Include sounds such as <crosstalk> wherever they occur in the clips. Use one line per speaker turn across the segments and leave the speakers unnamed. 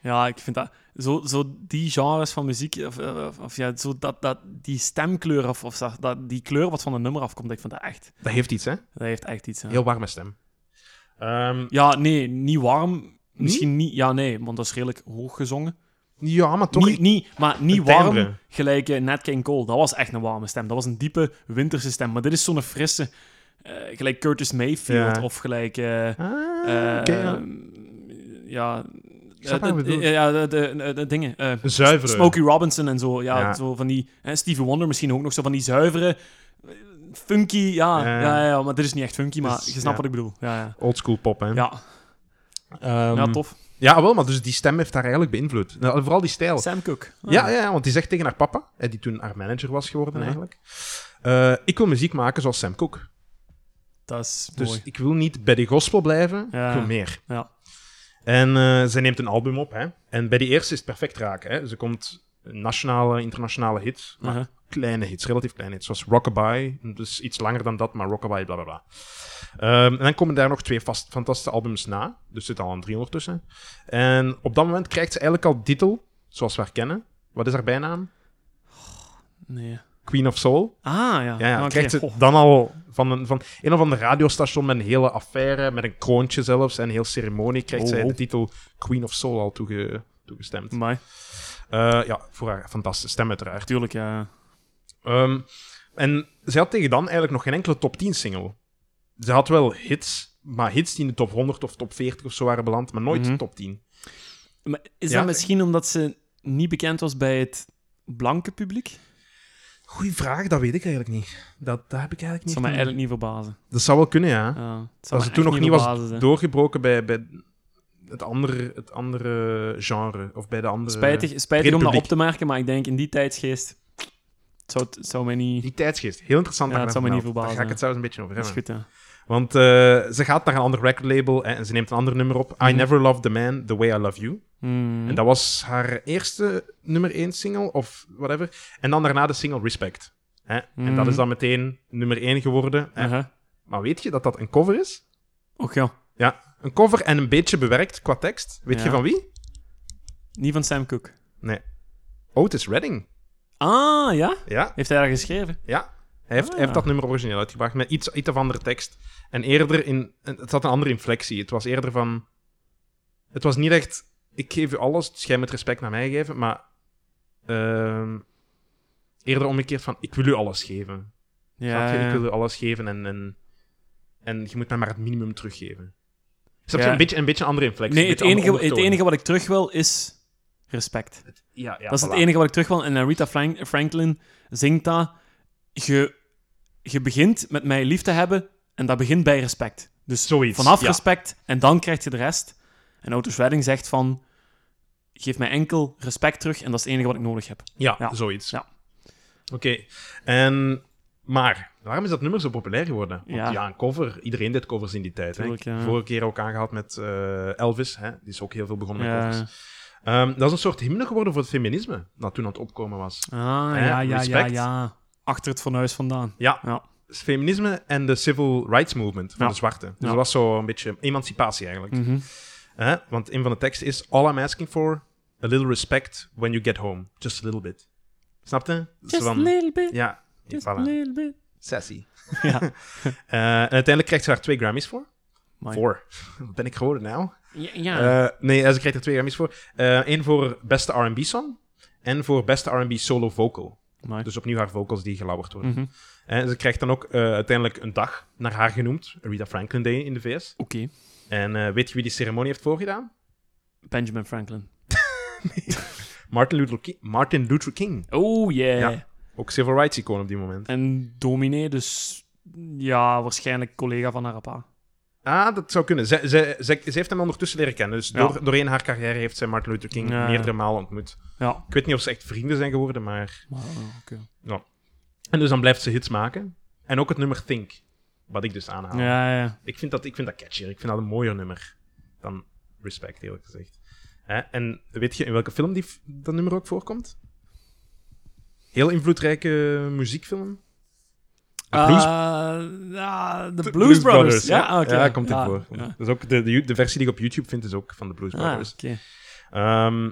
Ja, ik vind dat... Zo, zo die genres van muziek, of, eh, of, of ja, zo dat, dat, die stemkleur of, of dat, dat- die kleur wat van een nummer afkomt, ik vind dat echt...
Dat heeft iets, hè?
Dat heeft echt iets, ja.
Heel warme stem. Ehm,
Ja, nee, niet warm. Misschien niet... Ja, nee, want dat is redelijk hoog gezongen.
ja, maar toch...
niet, niet, maar niet
een
warm,
timbre.
gelijk eh, Nat King Cole. Dat was echt een warme stem. Dat was een diepe winterse stem. Maar dit is zo'n frisse... eh, gelijk Curtis Mayfield
Ja.
of gelijk... eh, eh,
Ah, oké, ja.
ja.
snap
Eh,
wat je
de-
bedoelt.
Ja, de, de, de- de dingen. eh,
Een zuivere.
Smokey Robinson en zo. Ja,
Ja.
zo van die... En Stevie Wonder misschien ook nog zo van die zuivere... eh, Funky, ja. Ja,
Ja.
ja, ja, maar dit is niet echt funky, maar
Dus,
je snapt
ja.
wat ik bedoel. Ja, ja.
eh, Oldschool pop, hè?
Ja,
Ehm,
ja, tof.
ja, wel, maar dus die stem heeft haar eigenlijk beïnvloed. Nou, vooral die stijl.
Sam Cooke. Ah.
Ja, ja, ja, want die zegt tegen haar papa, hè, die toen haar manager was geworden
Ja.
eigenlijk. eh, ik wil muziek maken zoals Sam Cooke.
Dat is
Dus
mooi.
ik wil niet bij de gospel blijven,
Ja.
ik wil meer.
Ja.
En eh, zij neemt een album op, hè. En bij die eerste is het perfect raak, hè. Ze komt nationale, internationale hits, maar
Uh-huh.
kleine hits, relatief kleine hits. Zoals Rockabye, dus iets langer dan dat, maar Rockabye, bla bla bla. Ehm, en dan komen daar nog twee vast, fantastische albums na. Dus er zitten al een drie ondertussen. En op dat moment krijgt ze eigenlijk al titel, zoals we haar kennen. Wat is haar bijnaam?
Nee.
Queen of Soul.
Ah, ja.
Ja, ja
Oké.
krijgt ze
Goh.
dan al van een, van een of ander radiostation met een hele affaire, met een kroontje zelfs en een heel ceremonie, krijgt
Oh,
zij
oh.
de titel Queen of Soul al toege, toegestemd.
Amai.
Eh, ja, voor haar fantastische stem uiteraard.
Tuurlijk, ja.
Ehm, en zij had tegen dan eigenlijk nog geen enkele top 10 single. Ze had wel hits, maar hits die in de top 100 of top 40 of zo waren beland, maar nooit
Mhm.
top 10.
Maar is
Ja.
dat misschien omdat ze niet bekend was bij het blanke publiek? Dat
Goeie vraag, dat weet ik eigenlijk niet. Dat, dat heb ik eigenlijk niet.
zou mij
van-
eigenlijk niet verbazen.
Dat zou wel kunnen, ja.
Ja, het zou
Als
mij
het
echt
toen nog
niet
niet was
verbazen, hè.
doorgebroken bij, bij het, andere, het andere genre. Of bij de andere...
Spijtig, spijtig om dat
Republiek.
op te merken, maar ik denk in die tijdsgeest... Het zou, het zou mij niet...
Die tijdsgeest. Heel interessant.
Ja,
dat
het
je
zou me
dat
niet
vermeldt. Daar ga ik het
verbazen,
zo eens een beetje over
Dat is
hebben.
goed, ja.
Want eh, ze gaat naar een ander recordlabel en, en ze neemt een ander nummer op. I
Mhm.
Never Loved the Man The Way I Love You.
Hmm.
En dat was haar eerste nummer 1 single of whatever. En dan daarna de single Respect. Hè? En dat
Mhm.
is dan meteen nummer 1 geworden. Hè?
Uh-huh.
Maar weet je dat dat een cover is?
Och ja,
Ja, een cover en een beetje bewerkt qua tekst. Weet je
Ja.
van wie?
niet van Sam Cooke.
Otis Redding.
Ah, ja?
Ja,
Heeft hij daar geschreven?
Ja. Hij heeft,
Ah,
hij heeft
ja.
dat nummer origineel uitgebracht met iets, iets of andere tekst. En eerder in... en Het had een andere inflectie. Het was eerder van... Het was niet echt... Ik geef u alles, dus jij moet respect naar mij geven, maar... ehm, eerder omgekeerd van... Ik wil u alles geven.
Ja,
Snap je? Ik
ja.
wil u alles geven en... En, en je moet mij maar het minimum teruggeven. Snap je?
Ja.
Een beetje een beetje een andere inflectie.
Nee,
een
het
beetje andere
enige, het
ondertoon.
enige wat ik terug wil is respect.
Ja, ja,
dat is
voilà.
het enige wat ik terug wil. En Aretha Frank- Franklin zingt dat. Je, je begint met mij lief te hebben en dat begint bij respect. Dus
Zoiets,
vanaf
ja.
respect en dan krijg je de rest. En Otis Redding zegt van... Geef mij enkel respect terug en dat is het enige wat ik nodig heb.
Ja,
Ja.
zoiets.
Ja.
Oké. En... Maar, waarom is dat nummer zo populair geworden? Want ja,
Ja.
een cover. Iedereen deed covers in die tijd. Hè?
Tuurlijk, ja.
Vorige keer ook aangehaald met eh, Elvis. Hè? Die is ook heel veel begonnen
Ja.
met covers. Ehm, dat is een soort hymne geworden voor het feminisme. Dat toen aan het opkomen was.
Ah,
Hè,
ja, ja, ja,
respect.
ja. Achter het fornuis vandaan.
Ja.
Ja.
Het feminisme en de civil rights movement van
Ja.
de zwarte. Dus
Ja.
dat was zo een beetje emancipatie eigenlijk.
Mhm.
Hè? Want een van de teksten is... All I'm asking for, a little respect when you get home. Just a little bit. Snapte? Dus
Just a
van-
little bit,
Ja.
just a
voilà.
little bit.
<laughs> Sassy.
Ja.
Eh, en uiteindelijk krijgt ze daar twee Grammys voor.
Amai.
Voor. <laughs> Wat ben ik geworden nou?
Ja, ja.
Eh, nee, eh, ze krijgt er twee Grammys voor. Eén voor beste R&B song en voor beste R&B solo vocal.
Amai.
Dus opnieuw haar vocals die gelauwerd worden.
Mhm.
En ze krijgt dan ook eh, uiteindelijk een dag naar haar genoemd. Rita Franklin Day in de VS.
Oké,
En eh, weet je wie die ceremonie heeft voorgedaan?
Benjamin Franklin.
Martin Luther King. Martin Luther King.
Oh yeah.
Ja. Ook civil rights icoon op die moment.
En dominee, dus ja, waarschijnlijk collega van haar pa.
Ah, dat zou kunnen. Zij, zij, zij, ze heeft hem ondertussen leren kennen. Dus
Ja.
door, doorheen haar carrière heeft zij Martin Luther King
Ja.
meerdere malen ontmoet.
Ja.
Ik weet niet of ze echt vrienden zijn geworden, maar...
Maar, eh, oké.
En dus dan blijft ze hits maken. En ook het nummer Think, wat ik dus aanhaal.
Ja, ja.
Ik, vind dat, ik vind dat catchier. Ik vind dat een mooier nummer dan Respect, eerlijk gezegd. Hè? En weet je in welke film die, f- dat nummer ook voorkomt? Heel invloedrijke muziekfilm. Ah. De Blues,
Eh, ja, de Blues,
Blues
Brothers. Ja, oké.
ja, komt in
Ja,
voor.
ja.
Dus ook de, de, de versie die ik op YouTube vind is ook van de Blues
Ah,
Brothers.
oké.
Ehm,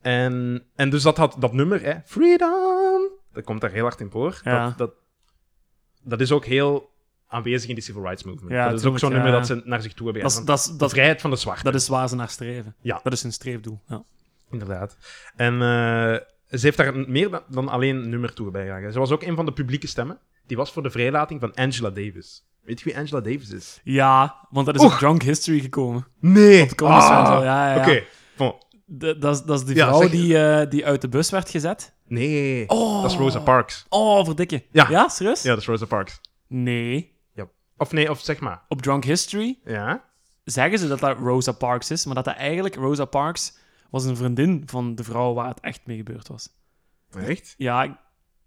en, en dus dat had dat nummer, hè, Freedom, dat komt daar heel hard in voor.
Ja.
Dat, dat, dat is ook heel aanwezig in de Civil Rights Movement.
Ja,
dat is ook zo'n
tuurlijk,
nummer
ja.
dat ze naar zich toe hebben.
dat,
ja,
is,
van
dat, is,
de
dat, is,
vrijheid van de zwarte.
dat is waar ze naar streven.
Ja.
Dat is hun streefdoel. Ja.
Inderdaad. En eh, ze heeft daar meer dan, dan alleen een nummer toe bijgedragen. Ze was ook een van de publieke stemmen. Die was voor de vrijlating van Angela Davis. Weet je wie Angela Davis is?
ja, want dat is
Oeh.
op Drunk History gekomen.
Nee!
Op Comedy Central, ja, ja, ja.
Ah, Oké. Bon.
De- dat, is- dat is die
Ja,
vrouw
zeg-
die, eh, die uit de bus werd gezet.
Nee.
Oh.
Dat is Rosa Parks.
Oh, verdikke.
Ja.
serieus?
Ja, dat is Rosa Parks.
Nee.
Ja. Of nee, of zeg maar.
Op Drunk History
Ja?
zeggen ze dat dat Rosa Parks is, maar dat dat eigenlijk Rosa Parks was een vriendin van de vrouw waar het echt mee gebeurd was.
Echt?
Ja, ik,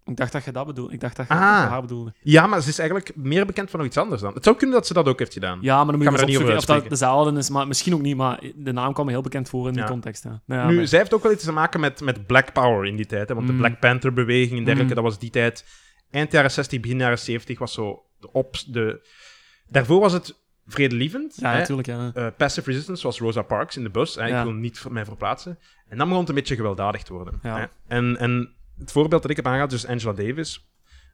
ik dacht dat je dat bedoelde. Ik dacht dat je
Ah.
dat je haar bedoelde.
Ja, maar ze is eigenlijk meer bekend van nog iets anders dan. Het zou kunnen dat ze dat ook heeft gedaan.
Ja, maar dan moet je
Gaan we
eens
daar niet over
opzoeken of dat
uitspreken.
dezelfde is, maar misschien ook niet, maar de naam kwam me heel bekend voor in die
Ja.
context. Ja. Nou ja,
nu,
maar-
zij heeft ook wel iets te maken met, met Black Power in die tijd. Hè, want
Mm.
de Black Panther-beweging en dergelijke,
Mm.
dat was die tijd. Eind jaren 60, begin jaren 70 was zo de op... De... Daarvoor was het vredelievend.
ja,
hè.
natuurlijk, ja.
Eh, passive resistance, zoals Rosa Parks in de bus. Hè,
Ja.
Ik wil niet voor mij verplaatsen. En dan begon het een beetje gewelddadig te worden.
Ja.
Hè. En, en het voorbeeld dat ik heb aangehaald, dus Angela Davis.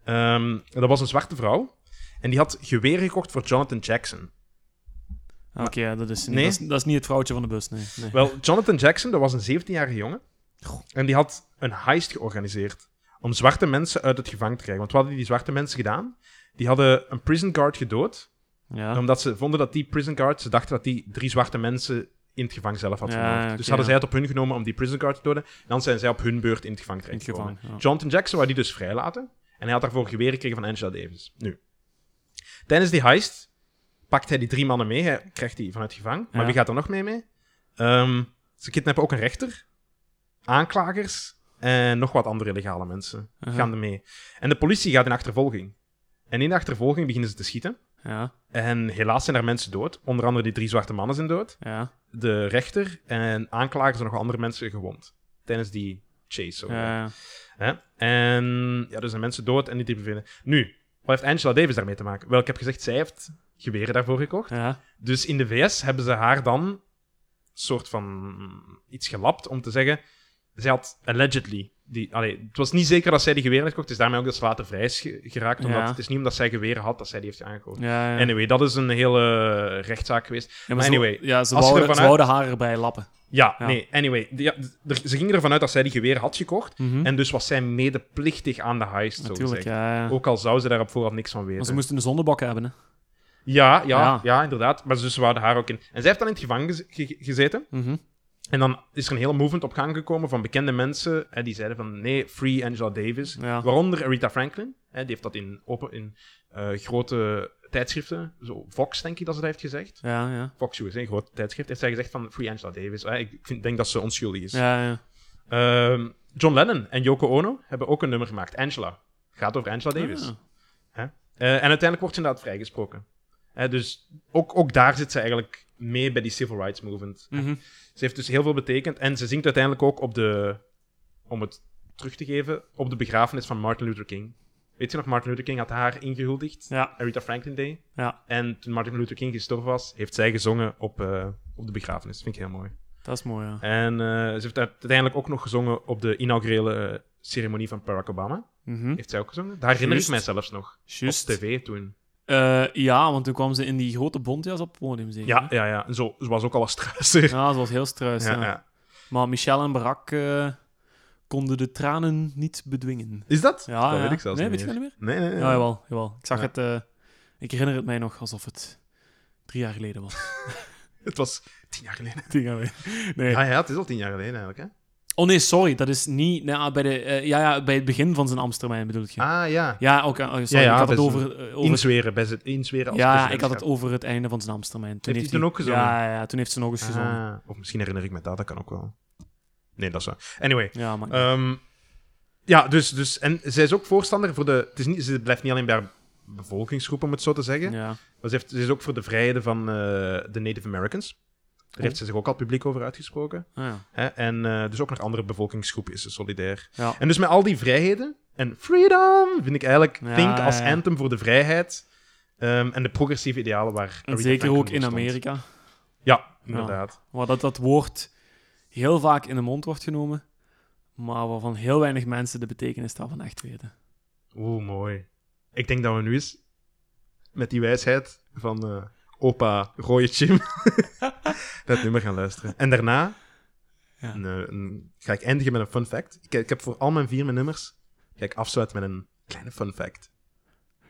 ehm, dat was een zwarte vrouw. En die had geweren gekocht voor Jonathan Jackson.
Oké, ja, dat, is niet-
Nee?
dat, is, dat is niet het vrouwtje van de bus, nee. nee.
Wel, Jonathan Jackson, dat was een 17-jarige jongen. En die had een heist georganiseerd. Om zwarte mensen uit het gevangen te krijgen. Want wat hadden die zwarte mensen gedaan? Die hadden een prison guard gedood.
ja.
Omdat ze vonden dat die prison guard... Ze dachten dat die drie zwarte mensen in het gevangen zelf had
Ja,
vermoord.
ja,
dus
oké,
hadden
ja.
zij het op hun genomen om die prison guard te doden. En dan zijn zij op hun beurt in het gevangen
In het
terechtgekomen.
gevangen, ja.
Jonathan Jackson wou die dus vrijlaten. En hij had daarvoor geweer gekregen van Angela Davis. Nu. Tijdens die heist pakt hij die drie mannen mee. Hij krijgt die vanuit het gevangen. Maar
Ja.
wie gaat er nog mee mee? Ehm, ze kidnappen ook een rechter, aanklagers en nog wat andere legale mensen
Aha.
gaan er mee. En de politie gaat in achtervolging. En in de achtervolging beginnen ze te schieten.
ja,
En helaas zijn er mensen dood. Onder andere die drie zwarte mannen zijn dood.
ja,
De rechter en aanklagers en nog andere mensen gewond. Tijdens die chase. zo.
ja,
Hè? En ja, er zijn mensen dood en die te bevinden. Nu, wat heeft Angela Davis daarmee te maken? Wel, ik heb gezegd, zij heeft geweren daarvoor gekocht.
ja.
Dus in de VS hebben ze haar dan soort van iets gelapt om te zeggen. Zij had allegedly. Die, allee, het was niet zeker dat zij die geweren heeft gekocht. Het is daarmee ook dat ze later vrij is ge- geraakt. Omdat
Ja.
Het is niet omdat zij geweren had dat zij die heeft aangekocht.
ja, ja.
Anyway, dat is een hele rechtszaak geweest.
Ja,
maar
ze-
anyway,
ja, ze,
als je
wouden,
ervan
ze
uit-
wouden haar erbij lappen.
Ja,
Ja.
nee, anyway. die- ja, d- er- ze gingen ervan uit dat zij die geweren had gekocht.
Mhm.
En dus was zij medeplichtig aan de heist, zo
Natuurlijk,
gezegd.
ja, ja.
Ook al zou ze daar op voorhand niks van
Maar ze
weten.
moesten een zondebok hebben, hè.
Ja, ja,
Ja.
ja. inderdaad. Maar ze dus ze wouden haar ook in. En zij heeft dan in het gevangen gez- ge- gezeten.
Mhm.
En dan is er een hele movement op gang gekomen van bekende mensen hè, die zeiden van nee, free Angela Davis.
Ja.
Waaronder Aretha Franklin. Hè, die heeft dat in, open, in eh, grote tijdschriften, zo Fox denk ik dat ze dat heeft gezegd.
Ja, ja.
Fox USA, een grote tijdschrift, heeft zij gezegd van free Angela Davis. Hè, ik vind, denk dat ze onschuldig is.
Ja, ja.
Ehm, John Lennon en Yoko Ono hebben ook een nummer gemaakt, Angela. Gaat over Angela Davis.
Ah.
Eh, en uiteindelijk wordt ze inderdaad vrijgesproken. Hè, dus ook, ook daar zit ze eigenlijk mee bij die civil rights movement.
Mhm.
Ze heeft dus heel veel betekend. En ze zingt uiteindelijk ook op de. Om het terug te geven, op de begrafenis van Martin Luther King. Weet je nog, Martin Luther King had haar ingehuldigd.
Ja,
Aretha Franklin Day.
ja,
En toen Martin Luther King gestorven was, heeft zij gezongen op, eh, op de begrafenis. Vind ik heel mooi.
dat is mooi, ja.
En eh, ze heeft uit- uiteindelijk ook nog gezongen op de inaugurele eh, ceremonie van Barack Obama.
Mhm.
Heeft zij ook gezongen? Daar herinner
Juist.
ik mij zelfs nog.
Juist.
Op tv toen.
Eh, ja, want toen kwam ze in die grote bontjas op het podium, zeker?
Ja,
hè?
ja, ja. En Zo, ze was ook al een struiser.
Mhm. Ja, ze was heel struis.
Ja,
ja.
ja.
Maar Michel en Barak eh, konden de tranen niet bedwingen.
Is dat?
Ja,
dat
ja.
weet ik zelfs
Nee,
niet
weet je
meer.
dat niet
Nee, nee, nee.
Ja, jawel. jawel. Ik zag
Ja.
het... eh, ik herinner het mij nog alsof het drie jaar geleden was. <laughs>
Het was tien jaar geleden. Ah,
Tien jaar geleden. Nee.
Ja, ja, het is al tien jaar geleden eigenlijk.
Oh nee, sorry. Dat is niet... nou, bij, de, eh, ja, ja, bij het begin van zijn Amstermijn bedoel ik. je.
Hè? Ah ja.
Ja, ook. eh, sorry,
Ja, ja,
ik had het
dat is
over... eh, over het-
Inzweren, bij het inzweren als
ja, ik had
presidentschap.
het over het einde van zijn Amstermijn. Toen
hij
heeft
toen
hij-
ook gezongen?
Ja, ja, ja, toen heeft ze nog eens gezongen.
Ah, of misschien herinner ik me dat, dat kan ook wel. Nee, dat is waar. Anyway.
Ja, maar...
ehm, ja, dus, dus... En zij is ook voorstander voor de... Het is niet, ze blijft niet alleen bij haar bevolkingsgroep, om het zo te zeggen.
ja. Ah,
Maar ze, heeft, ze is ook voor de vrijheden van eh, de Native Americans. Daar
Oh.
heeft ze zich ook al publiek over uitgesproken.
Ah, ja.
Hè? En eh, dus ook naar andere bevolkingsgroepen is ze solidair.
Ja.
En dus met al die vrijheden en freedom vind ik eigenlijk
Ja,
Pink als
ja, ja.
anthem voor de vrijheid ehm, en de progressieve idealen waar.
En zeker
Aretha Franklin
ook
voor
in
stond.
Amerika.
Ja, inderdaad.
Maar dat, dat woord heel vaak in de mond wordt genomen, maar waarvan heel weinig mensen de betekenis daarvan echt weten.
Oeh, mooi. Ik denk dat we nu eens met die wijsheid van eh, opa Roy Jim <laughs> dat nummer gaan luisteren. En daarna
Ja.
een, eh, een- ga ik eindigen met een fun fact. Ik, ik heb voor al mijn vier mijn nummers ga ik afsluiten met een kleine fun fact.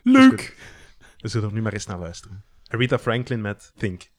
Dus
Leuk! Dus
We zullen er nu maar eens naar luisteren. Aretha Franklin met Think.